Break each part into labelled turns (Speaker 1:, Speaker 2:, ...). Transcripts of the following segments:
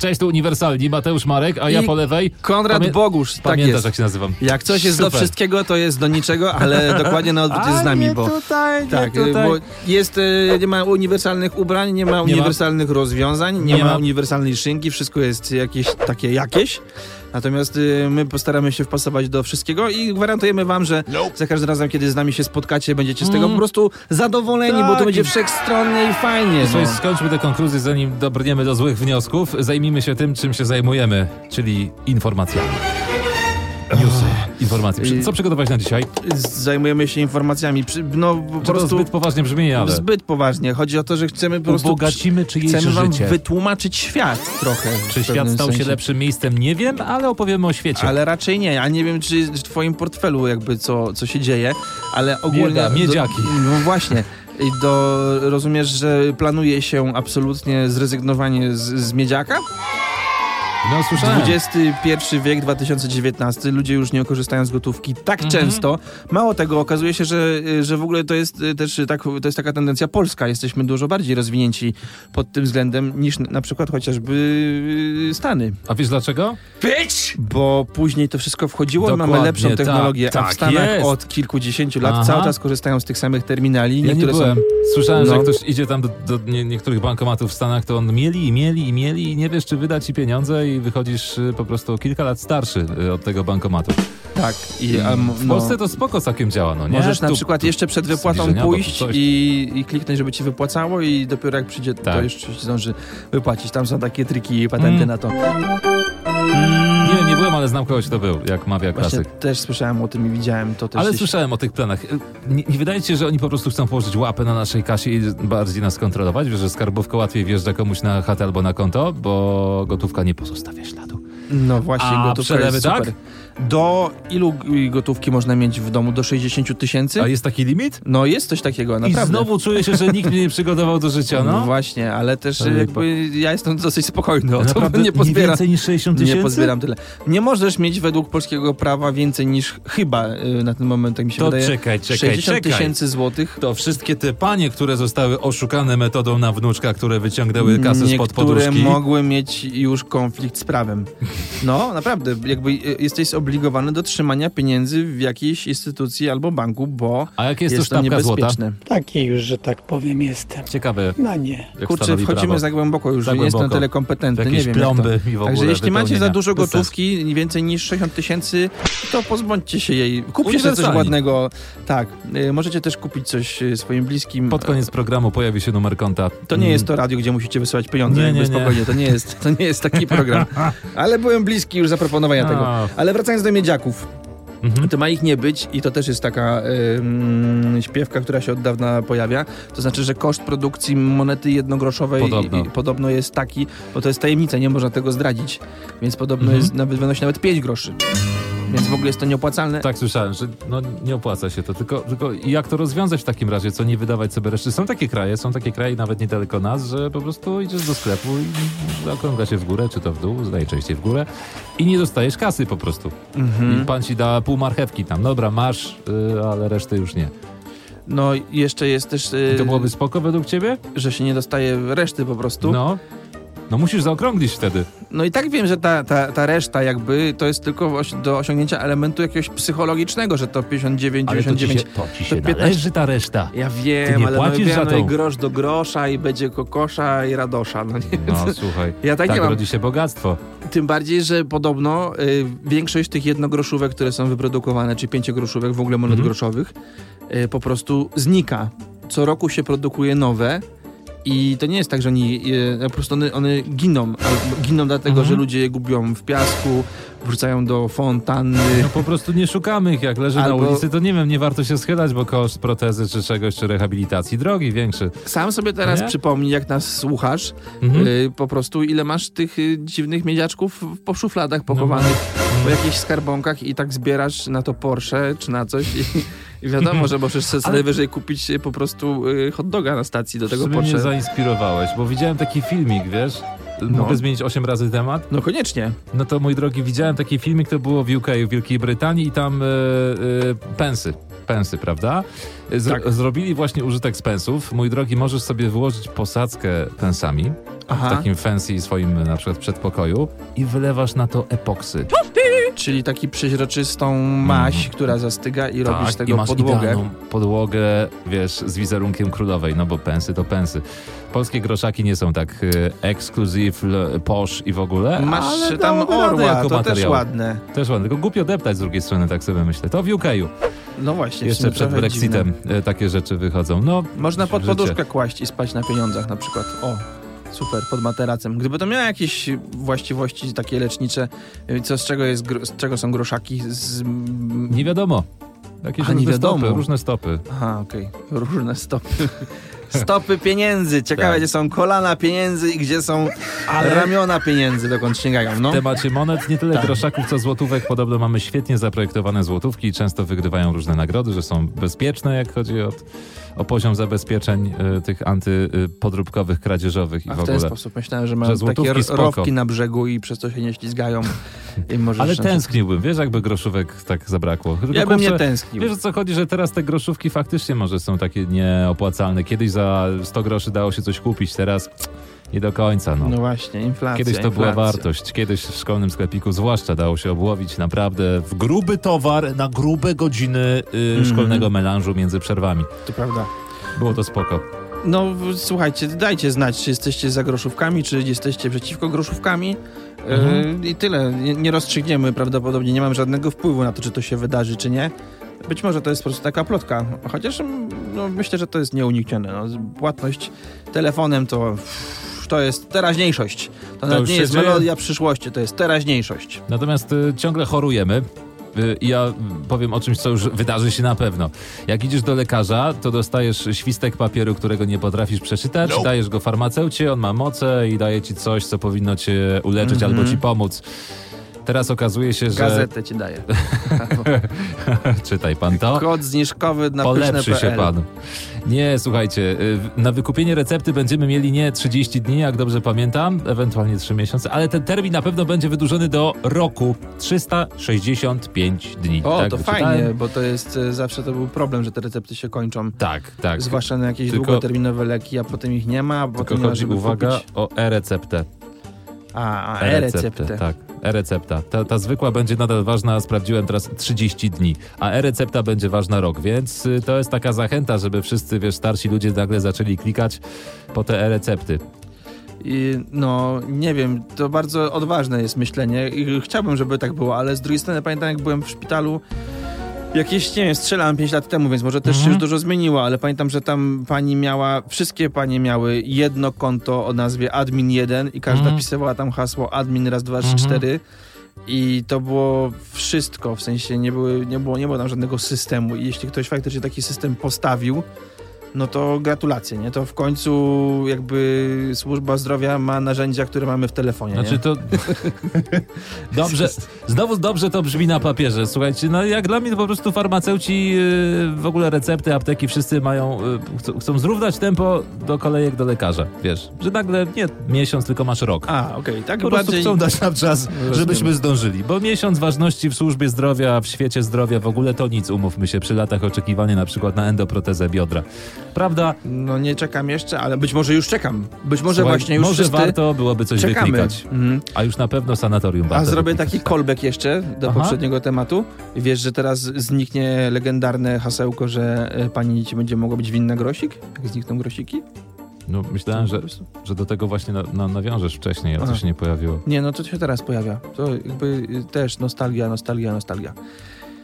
Speaker 1: Cześć, tu Uniwersalni, Mateusz Marek, a ja
Speaker 2: I
Speaker 1: po lewej...
Speaker 2: Konrad
Speaker 1: Pamię-
Speaker 2: Bogusz, tak
Speaker 1: Pamiętasz,
Speaker 2: jest.
Speaker 1: jak się nazywam.
Speaker 2: Jak coś jest do
Speaker 1: Super.
Speaker 2: wszystkiego, to jest do niczego, ale dokładnie na odwrót
Speaker 1: A,
Speaker 2: jest z nami,
Speaker 1: nie
Speaker 2: bo...
Speaker 1: tutaj, nie
Speaker 2: Tak,
Speaker 1: tutaj.
Speaker 2: bo jest, e, nie ma uniwersalnych ubrań, nie ma uniwersalnych rozwiązań, nie,
Speaker 1: Nie
Speaker 2: ma
Speaker 1: ma.
Speaker 2: uniwersalnej szynki, wszystko jest jakieś takie jakieś. Natomiast e, my postaramy się wpasować do wszystkiego i gwarantujemy wam, że za każdym razem, kiedy z nami się spotkacie, będziecie z tego po prostu zadowoleni, bo
Speaker 1: Mm.
Speaker 2: to
Speaker 1: Tak.
Speaker 2: będzie wszechstronnie i fajnie.
Speaker 1: Słuchaj,
Speaker 2: no.
Speaker 1: skończmy te konkluzje, zanim dobrniemy do złych wniosków. Zajmijmy się tym, czym się zajmujemy, czyli informacjami. Newsy, informacje. Przy- Co przygotowałeś na dzisiaj?
Speaker 2: Zajmujemy się informacjami, przy- no po
Speaker 1: Czy to
Speaker 2: prostu...
Speaker 1: zbyt poważnie brzmi, ale...
Speaker 2: Zbyt poważnie. Chodzi o to, że chcemy po prostu.
Speaker 1: Ubogacimy czyjeś
Speaker 2: Chcemy wam
Speaker 1: życie.
Speaker 2: wytłumaczyć świat trochę. w
Speaker 1: Czy świat
Speaker 2: pewnym
Speaker 1: stał się
Speaker 2: sensie.
Speaker 1: lepszym miejscem? Nie wiem, ale opowiemy o świecie.
Speaker 2: Ale raczej nie. Ja nie wiem, czy w twoim portfelu jakby co, co się dzieje, ale ogólnie...
Speaker 1: Bieda, miedziaki.
Speaker 2: Do, no właśnie. I do, rozumiesz, że planuje się absolutnie zrezygnowanie z, z miedziaka?
Speaker 1: No słyszałem.
Speaker 2: XXI wiek, 2019, ludzie już nie korzystają z gotówki tak
Speaker 1: Mhm.
Speaker 2: często. Mało tego, okazuje się, że, że w ogóle to jest y, też y, tak, to jest taka tendencja polska. Jesteśmy dużo bardziej rozwinięci pod tym względem niż na przykład chociażby y, Stany.
Speaker 1: A wiesz dlaczego?
Speaker 2: Bo później to wszystko wchodziło, mamy
Speaker 1: Dokładnie,
Speaker 2: lepszą
Speaker 1: tak,
Speaker 2: technologię, a
Speaker 1: tak
Speaker 2: w Stanach
Speaker 1: jest.
Speaker 2: od kilkudziesięciu lat
Speaker 1: Aha.
Speaker 2: cały czas korzystają z tych samych terminali.
Speaker 1: Ja nie
Speaker 2: Niektóre
Speaker 1: byłem.
Speaker 2: są
Speaker 1: Słyszałem, że
Speaker 2: No.
Speaker 1: jak ktoś idzie tam do, do nie, niektórych bankomatów w Stanach, to on mieli i mieli i mieli i nie wiesz, czy wyda ci pieniądze i wychodzisz y, po prostu o kilka lat starszy y, od tego bankomatu.
Speaker 2: tak. I, a, m-
Speaker 1: W Polsce to spoko całkiem działa, no nie?
Speaker 2: Możesz na
Speaker 1: Tu-
Speaker 2: przykład jeszcze przed wypłatą
Speaker 1: zbliżenia, bo tu
Speaker 2: pójść
Speaker 1: coś.
Speaker 2: i, i kliknąć, żeby ci wypłacało i dopiero jak przyjdzie, to
Speaker 1: Tak.
Speaker 2: jeszcze się zdąży wypłacić. Tam są takie triki i patenty
Speaker 1: Mm.
Speaker 2: na to.
Speaker 1: Nie wiem, nie byłem, ale znam kogoś, kto był, jak mawia
Speaker 2: Właśnie
Speaker 1: klasyk.
Speaker 2: też słyszałem o tym i widziałem to też.
Speaker 1: Ale
Speaker 2: gdzieś.
Speaker 1: słyszałem o tych planach. Y, Nie, nie wydaje ci się, że oni po prostu chcą położyć łapę na naszej kasie i bardziej nas kontrolować? Wiesz, że skarbówka łatwiej wjeżdża komuś na chatę albo na konto, bo gotówka nie pozostawia śladu.
Speaker 2: No właśnie,
Speaker 1: A
Speaker 2: gotówka
Speaker 1: przelewy
Speaker 2: jest
Speaker 1: tak?
Speaker 2: super. Do ilu g- gotówki można mieć w domu? Do 60 tysięcy?
Speaker 1: A jest taki limit?
Speaker 2: No jest coś takiego, naprawdę.
Speaker 1: I znowu czuję się, że nikt mnie nie przygotował do życia,
Speaker 2: No
Speaker 1: no.
Speaker 2: właśnie, ale też
Speaker 1: Ale
Speaker 2: jakby ja jestem dosyć spokojny o No, to, bo
Speaker 1: Naprawdę
Speaker 2: nie pozbieram.
Speaker 1: więcej niż 60
Speaker 2: Nie
Speaker 1: tysięcy?
Speaker 2: pozbieram tyle. Nie możesz mieć według polskiego prawa więcej niż chyba y, na ten moment, tak mi się
Speaker 1: To
Speaker 2: wydaje.
Speaker 1: czekaj, czekaj,
Speaker 2: 60
Speaker 1: czekaj.
Speaker 2: tysięcy złotych.
Speaker 1: To wszystkie te panie, które zostały oszukane metodą na wnuczka, które wyciągnęły kasę spod
Speaker 2: Niektóre
Speaker 1: poduszki.
Speaker 2: mogły mieć już konflikt z prawem. No, naprawdę, jakby y, jesteś zobligowany do trzymania pieniędzy w jakiejś instytucji albo banku, bo
Speaker 1: A jak jest,
Speaker 2: jest,
Speaker 1: to
Speaker 2: to
Speaker 1: sztabka złota?
Speaker 2: niebezpieczne.
Speaker 3: Taki już, że tak powiem, jestem.
Speaker 1: Ciekawe,
Speaker 3: No nie.
Speaker 1: jak
Speaker 2: Kurczę,
Speaker 1: stanowi
Speaker 2: wchodzimy
Speaker 1: prawo.
Speaker 2: za głęboko już,
Speaker 1: Za
Speaker 2: nie jestem
Speaker 1: głęboko.
Speaker 2: tyle
Speaker 1: W
Speaker 2: kompetentny, nie
Speaker 1: jakieś
Speaker 2: wiem jak to.
Speaker 1: plomby i w ogóle
Speaker 2: Także jeśli macie za
Speaker 1: wypełnienia.
Speaker 2: dużo
Speaker 1: Bez sensu.
Speaker 2: gotówki, więcej niż 60 tysięcy, to pozbądźcie się jej. Kupcie sobie coś
Speaker 1: Uniwersalni.
Speaker 2: ładnego. Tak, y, możecie też kupić coś y, swoim bliskim.
Speaker 1: Pod koniec programu pojawi się numer konta.
Speaker 2: To nie jest to radio, gdzie musicie wysyłać pieniądze,
Speaker 1: Nie,
Speaker 2: jakby
Speaker 1: nie, nie.
Speaker 2: spokojnie, to nie jest, to nie jest taki program. Ale byłem bliski już zaproponowania
Speaker 1: A.
Speaker 2: tego. Ale wracając do miedziaków,
Speaker 1: No. Mhm.
Speaker 2: to ma ich nie być i to też jest taka ym, śpiewka, która się od dawna pojawia. To znaczy, że koszt produkcji monety jednogroszowej
Speaker 1: Podobno.
Speaker 2: I, i, podobno jest taki, bo to jest tajemnica, nie można tego zdradzić. Więc podobno
Speaker 1: Mhm.
Speaker 2: jest, nawet wynosi nawet 5 groszy. Więc w ogóle jest to nieopłacalne.
Speaker 1: Tak słyszałem, że no, nie opłaca się to. Tylko, tylko jak to rozwiązać w takim razie? Co nie wydawać sobie reszty? Są takie kraje, są takie kraje nawet niedaleko nas, że po prostu idziesz do sklepu i zakrąga się w górę, czy to w dół, najczęściej w górę i nie dostajesz kasy po prostu. I pan ci da pół marchewki tam. Dobra, masz, y, ale reszty już nie.
Speaker 2: No i jeszcze jest też, y,
Speaker 1: I to byłoby spoko według ciebie?
Speaker 2: że się nie dostaje reszty po prostu.
Speaker 1: No. No musisz zaokrąglić wtedy.
Speaker 2: No i tak wiem, że ta, ta, ta reszta jakby to jest tylko oś- do osiągnięcia elementu jakiegoś psychologicznego, że to 59,
Speaker 1: Ale to ci
Speaker 2: 99.
Speaker 1: się, to ci się
Speaker 2: 15
Speaker 1: należy ta reszta.
Speaker 2: Ja
Speaker 1: Ty
Speaker 2: wiem,
Speaker 1: nie
Speaker 2: ale no,
Speaker 1: płacisz
Speaker 2: wiem,
Speaker 1: za
Speaker 2: no i
Speaker 1: tą.
Speaker 2: grosz do grosza i będzie kokosza i radosza, no nie?
Speaker 1: No słuchaj,
Speaker 2: Ja tak,
Speaker 1: tak
Speaker 2: nie mam.
Speaker 1: rodzi się bogactwo.
Speaker 2: Tym bardziej, że podobno y, większość tych jednogroszówek, które są wyprodukowane, czy pięciogroszówek, w ogóle monet
Speaker 1: Mhm.
Speaker 2: groszowych, y, po prostu znika. Co roku się produkuje nowe i to nie jest tak, że oni y, po prostu one, one giną. Albo Giną dlatego,
Speaker 1: Mhm.
Speaker 2: że ludzie je gubią w piasku, wrzucają do fontanny.
Speaker 1: No po prostu nie szukamy ich, jak leży
Speaker 2: Albo-
Speaker 1: na ulicy, to nie wiem, nie warto się schylać, bo koszt protezy czy czegoś, czy rehabilitacji drogi większy.
Speaker 2: Sam sobie teraz
Speaker 1: No Nie?
Speaker 2: przypomnij, jak nas słuchasz,
Speaker 1: Mhm.
Speaker 2: y, po prostu ile masz tych y, dziwnych miedziaczków w- po
Speaker 1: No.
Speaker 2: szufladach pochowanych, po jakichś skarbonkach i tak zbierasz na to Porsche czy na coś i, i wiadomo, że możesz sobie
Speaker 1: Mhm. Ale-
Speaker 2: najwyżej kupić y, po prostu y, hot doga na stacji do
Speaker 1: Tego
Speaker 2: tego
Speaker 1: mnie
Speaker 2: Porsche.
Speaker 1: zainspirowałeś, bo widziałem taki filmik, wiesz? Mogę zmienić 8 razy temat?
Speaker 2: No koniecznie.
Speaker 1: No to mój drogi, widziałem taki filmik, to było w UK, w Wielkiej Brytanii i tam e, e, pensy, pensy, prawda? Y, Zro-
Speaker 2: Tak.
Speaker 1: Zrobili właśnie użytek z pensów. Mój drogi, możesz sobie wyłożyć posadzkę pensami w
Speaker 2: Aha.
Speaker 1: takim fancy swoim na przykład przedpokoju i wylewasz na to epoksy.
Speaker 2: Czyli taki przeźroczystą maś, która zastyga i robisz z
Speaker 1: Mhm. Tak, i
Speaker 2: tego
Speaker 1: masz
Speaker 2: podłogę.
Speaker 1: idealną podłogę, wiesz, z wizerunkiem królowej, no bo pensy to pensy. Polskie groszaki nie są tak y, ekskluzyw, l- posz i w ogóle,
Speaker 2: Masz
Speaker 1: ale
Speaker 2: tam
Speaker 1: dałoby radę
Speaker 2: orła,
Speaker 1: jako
Speaker 2: to
Speaker 1: materiał.
Speaker 2: też ładne.
Speaker 1: Też ładne, tylko głupio deptać z drugiej strony, tak sobie myślę. To w UK
Speaker 2: No właśnie. w
Speaker 1: jeszcze
Speaker 2: sumie
Speaker 1: przed
Speaker 2: trochę
Speaker 1: Brexitem
Speaker 2: dziwne.
Speaker 1: y, takie rzeczy wychodzą. No,
Speaker 2: Można pod
Speaker 1: życie.
Speaker 2: poduszkę kłaść i spać na pieniądzach na przykład. O, super, pod materacem. Gdyby to miało jakieś właściwości takie lecznicze, y, co, z, czego jest, gro- z czego są groszaki? Z... mm,
Speaker 1: Nie wiadomo. Jakieś
Speaker 2: A, nie
Speaker 1: różne
Speaker 2: wiadomo.
Speaker 1: stopy, różne stopy.
Speaker 2: Aha, okej. Różne stopy. Stopy pieniędzy. Ciekawe,
Speaker 1: Tak.
Speaker 2: gdzie są kolana pieniędzy i gdzie są ramiona pieniędzy, dokąd sięgają. No.
Speaker 1: W temacie monet nie
Speaker 2: Tak.
Speaker 1: tyle groszaków, co złotówek. Podobno mamy świetnie zaprojektowane złotówki i często wygrywają różne nagrody, że są bezpieczne, jak chodzi o, o poziom zabezpieczeń y, tych antypodróbkowych, kradzieżowych i
Speaker 2: A
Speaker 1: w
Speaker 2: w ten
Speaker 1: ogóle.
Speaker 2: sposób myślałem, że mają
Speaker 1: Że złotówki
Speaker 2: takie ro-
Speaker 1: spoko.
Speaker 2: rowki na brzegu i przez to się nie ślizgają. I możesz
Speaker 1: Ale
Speaker 2: na-
Speaker 1: tęskniłbym, wiesz, jakby groszówek tak zabrakło. Tylko,
Speaker 2: Ja bym nie
Speaker 1: kurczę,
Speaker 2: tęsknił.
Speaker 1: Wiesz o co chodzi, że teraz te groszówki faktycznie może są takie nieopłacalne. Kiedyś za 100 groszy dało się coś kupić, teraz nie do końca.
Speaker 2: No właśnie, inflacja.
Speaker 1: Kiedyś to była
Speaker 2: inflacja.
Speaker 1: wartość. Kiedyś w szkolnym sklepiku zwłaszcza dało się obłowić naprawdę w gruby towar na grube godziny y,
Speaker 2: Mhm.
Speaker 1: szkolnego melanżu między przerwami.
Speaker 2: To prawda.
Speaker 1: Było to spoko.
Speaker 2: No w- słuchajcie, dajcie znać, czy jesteście za groszówkami, czy jesteście przeciwko groszówkami. E,
Speaker 1: Mhm.
Speaker 2: I tyle. Nie, nie rozstrzygniemy prawdopodobnie, nie mam żadnego wpływu na to, czy to się wydarzy, czy nie. Być może to jest po prostu taka plotka, chociaż mm, no, myślę, że to jest nieuniknione. No, z- płatność telefonem to, to jest teraźniejszość. To, nawet
Speaker 1: już
Speaker 2: nie
Speaker 1: się
Speaker 2: jest
Speaker 1: dzieje.
Speaker 2: melodia przyszłości, to jest teraźniejszość.
Speaker 1: Natomiast y, ciągle chorujemy. Y, i Ja powiem o czymś, co już wydarzy się na pewno. Jak idziesz do lekarza, to dostajesz świstek papieru, którego nie potrafisz przeczytać, dajesz go farmaceucie, on ma moce i daje ci coś, co powinno cię uleczyć
Speaker 2: Mhm.
Speaker 1: albo ci pomóc. Teraz okazuje się, że...
Speaker 2: Gazetę ci daję.
Speaker 1: Czytaj pan to.
Speaker 2: Kod zniżkowy na
Speaker 1: Polepszy się
Speaker 2: pyszne.pl.
Speaker 1: pan. Nie, słuchajcie, y, w- na wykupienie recepty będziemy mieli nie 30 dni, jak dobrze pamiętam, ewentualnie 3 miesiące, ale ten termin na pewno będzie wydłużony do roku 365 dni.
Speaker 2: O,
Speaker 1: Tak
Speaker 2: to
Speaker 1: wyczytałem?
Speaker 2: fajnie, bo to jest e, zawsze to był problem, że te recepty się kończą.
Speaker 1: Tak, tak.
Speaker 2: Zwłaszcza na jakieś
Speaker 1: Tylko-
Speaker 2: długoterminowe leki, a potem ich nie ma, bo
Speaker 1: Tylko
Speaker 2: nie ma,
Speaker 1: chodzi,
Speaker 2: żeby
Speaker 1: uwaga,
Speaker 2: kupić.
Speaker 1: o e-receptę.
Speaker 2: A, a
Speaker 1: E-receptę,
Speaker 2: e-receptę.
Speaker 1: tak. E-recepta. Ta, ta zwykła będzie nadal ważna, sprawdziłem teraz 30 dni, a e-recepta będzie ważna rok, więc y, to jest taka zachęta, żeby wszyscy, wiesz, starsi ludzie nagle zaczęli klikać po te e-recepty.
Speaker 2: I, no, nie wiem, to bardzo odważne jest myślenie i chciałbym, żeby tak było, ale z drugiej strony pamiętam, jak byłem w szpitalu, jakieś, nie wiem, strzelałem 5 lat temu, więc może też się
Speaker 1: Mhm.
Speaker 2: już dużo zmieniło, ale pamiętam, że tam pani miała, wszystkie panie miały jedno konto o nazwie admin1 i każda
Speaker 1: Mhm.
Speaker 2: pisywała tam hasło admin raz, dwa, trzy,
Speaker 1: Mhm.
Speaker 2: cztery. I to było wszystko, w sensie nie, były, nie, było, nie było tam żadnego systemu. I jeśli ktoś faktycznie taki system postawił, no to gratulacje, nie? To w końcu jakby służba zdrowia ma narzędzia, które mamy w telefonie.
Speaker 1: Znaczy
Speaker 2: nie?
Speaker 1: to. dobrze. Znowu dobrze to brzmi na papierze. Słuchajcie, no jak dla mnie to po prostu farmaceuci, yy, w ogóle recepty, apteki, wszyscy mają. Yy, chcą, chcą zrównać tempo do kolejek do lekarza. Wiesz, że nagle nie miesiąc, tylko masz rok.
Speaker 2: A, okej, tak
Speaker 1: po prostu
Speaker 2: bardziej... No,
Speaker 1: chcą dać nam czas,
Speaker 2: Rozumiem.
Speaker 1: żebyśmy zdążyli. Bo miesiąc ważności w służbie zdrowia, w świecie zdrowia w ogóle to nic, umówmy się, przy latach oczekiwania na przykład na endoprotezę biodra. Prawda?
Speaker 2: No nie czekam jeszcze, ale być może już czekam. Być może
Speaker 1: Słuchaj,
Speaker 2: właśnie już
Speaker 1: Może
Speaker 2: wszyscy
Speaker 1: warto byłoby coś
Speaker 2: czekamy.
Speaker 1: wyklikać.
Speaker 2: Mhm.
Speaker 1: A już na pewno sanatorium
Speaker 2: A
Speaker 1: warto
Speaker 2: zrobię
Speaker 1: wyklikać.
Speaker 2: taki callback jeszcze do
Speaker 1: Aha.
Speaker 2: poprzedniego tematu. Wiesz, że teraz zniknie legendarne hasełko, że e, pani ci będzie mogła być winna grosik? Jak znikną grosiki?
Speaker 1: No, myślałem, że, że do tego właśnie na, na, nawiążesz wcześniej, a
Speaker 2: Aha.
Speaker 1: to się nie pojawiło.
Speaker 2: Nie, no to się teraz pojawia. To jakby y, też nostalgia, nostalgia, nostalgia.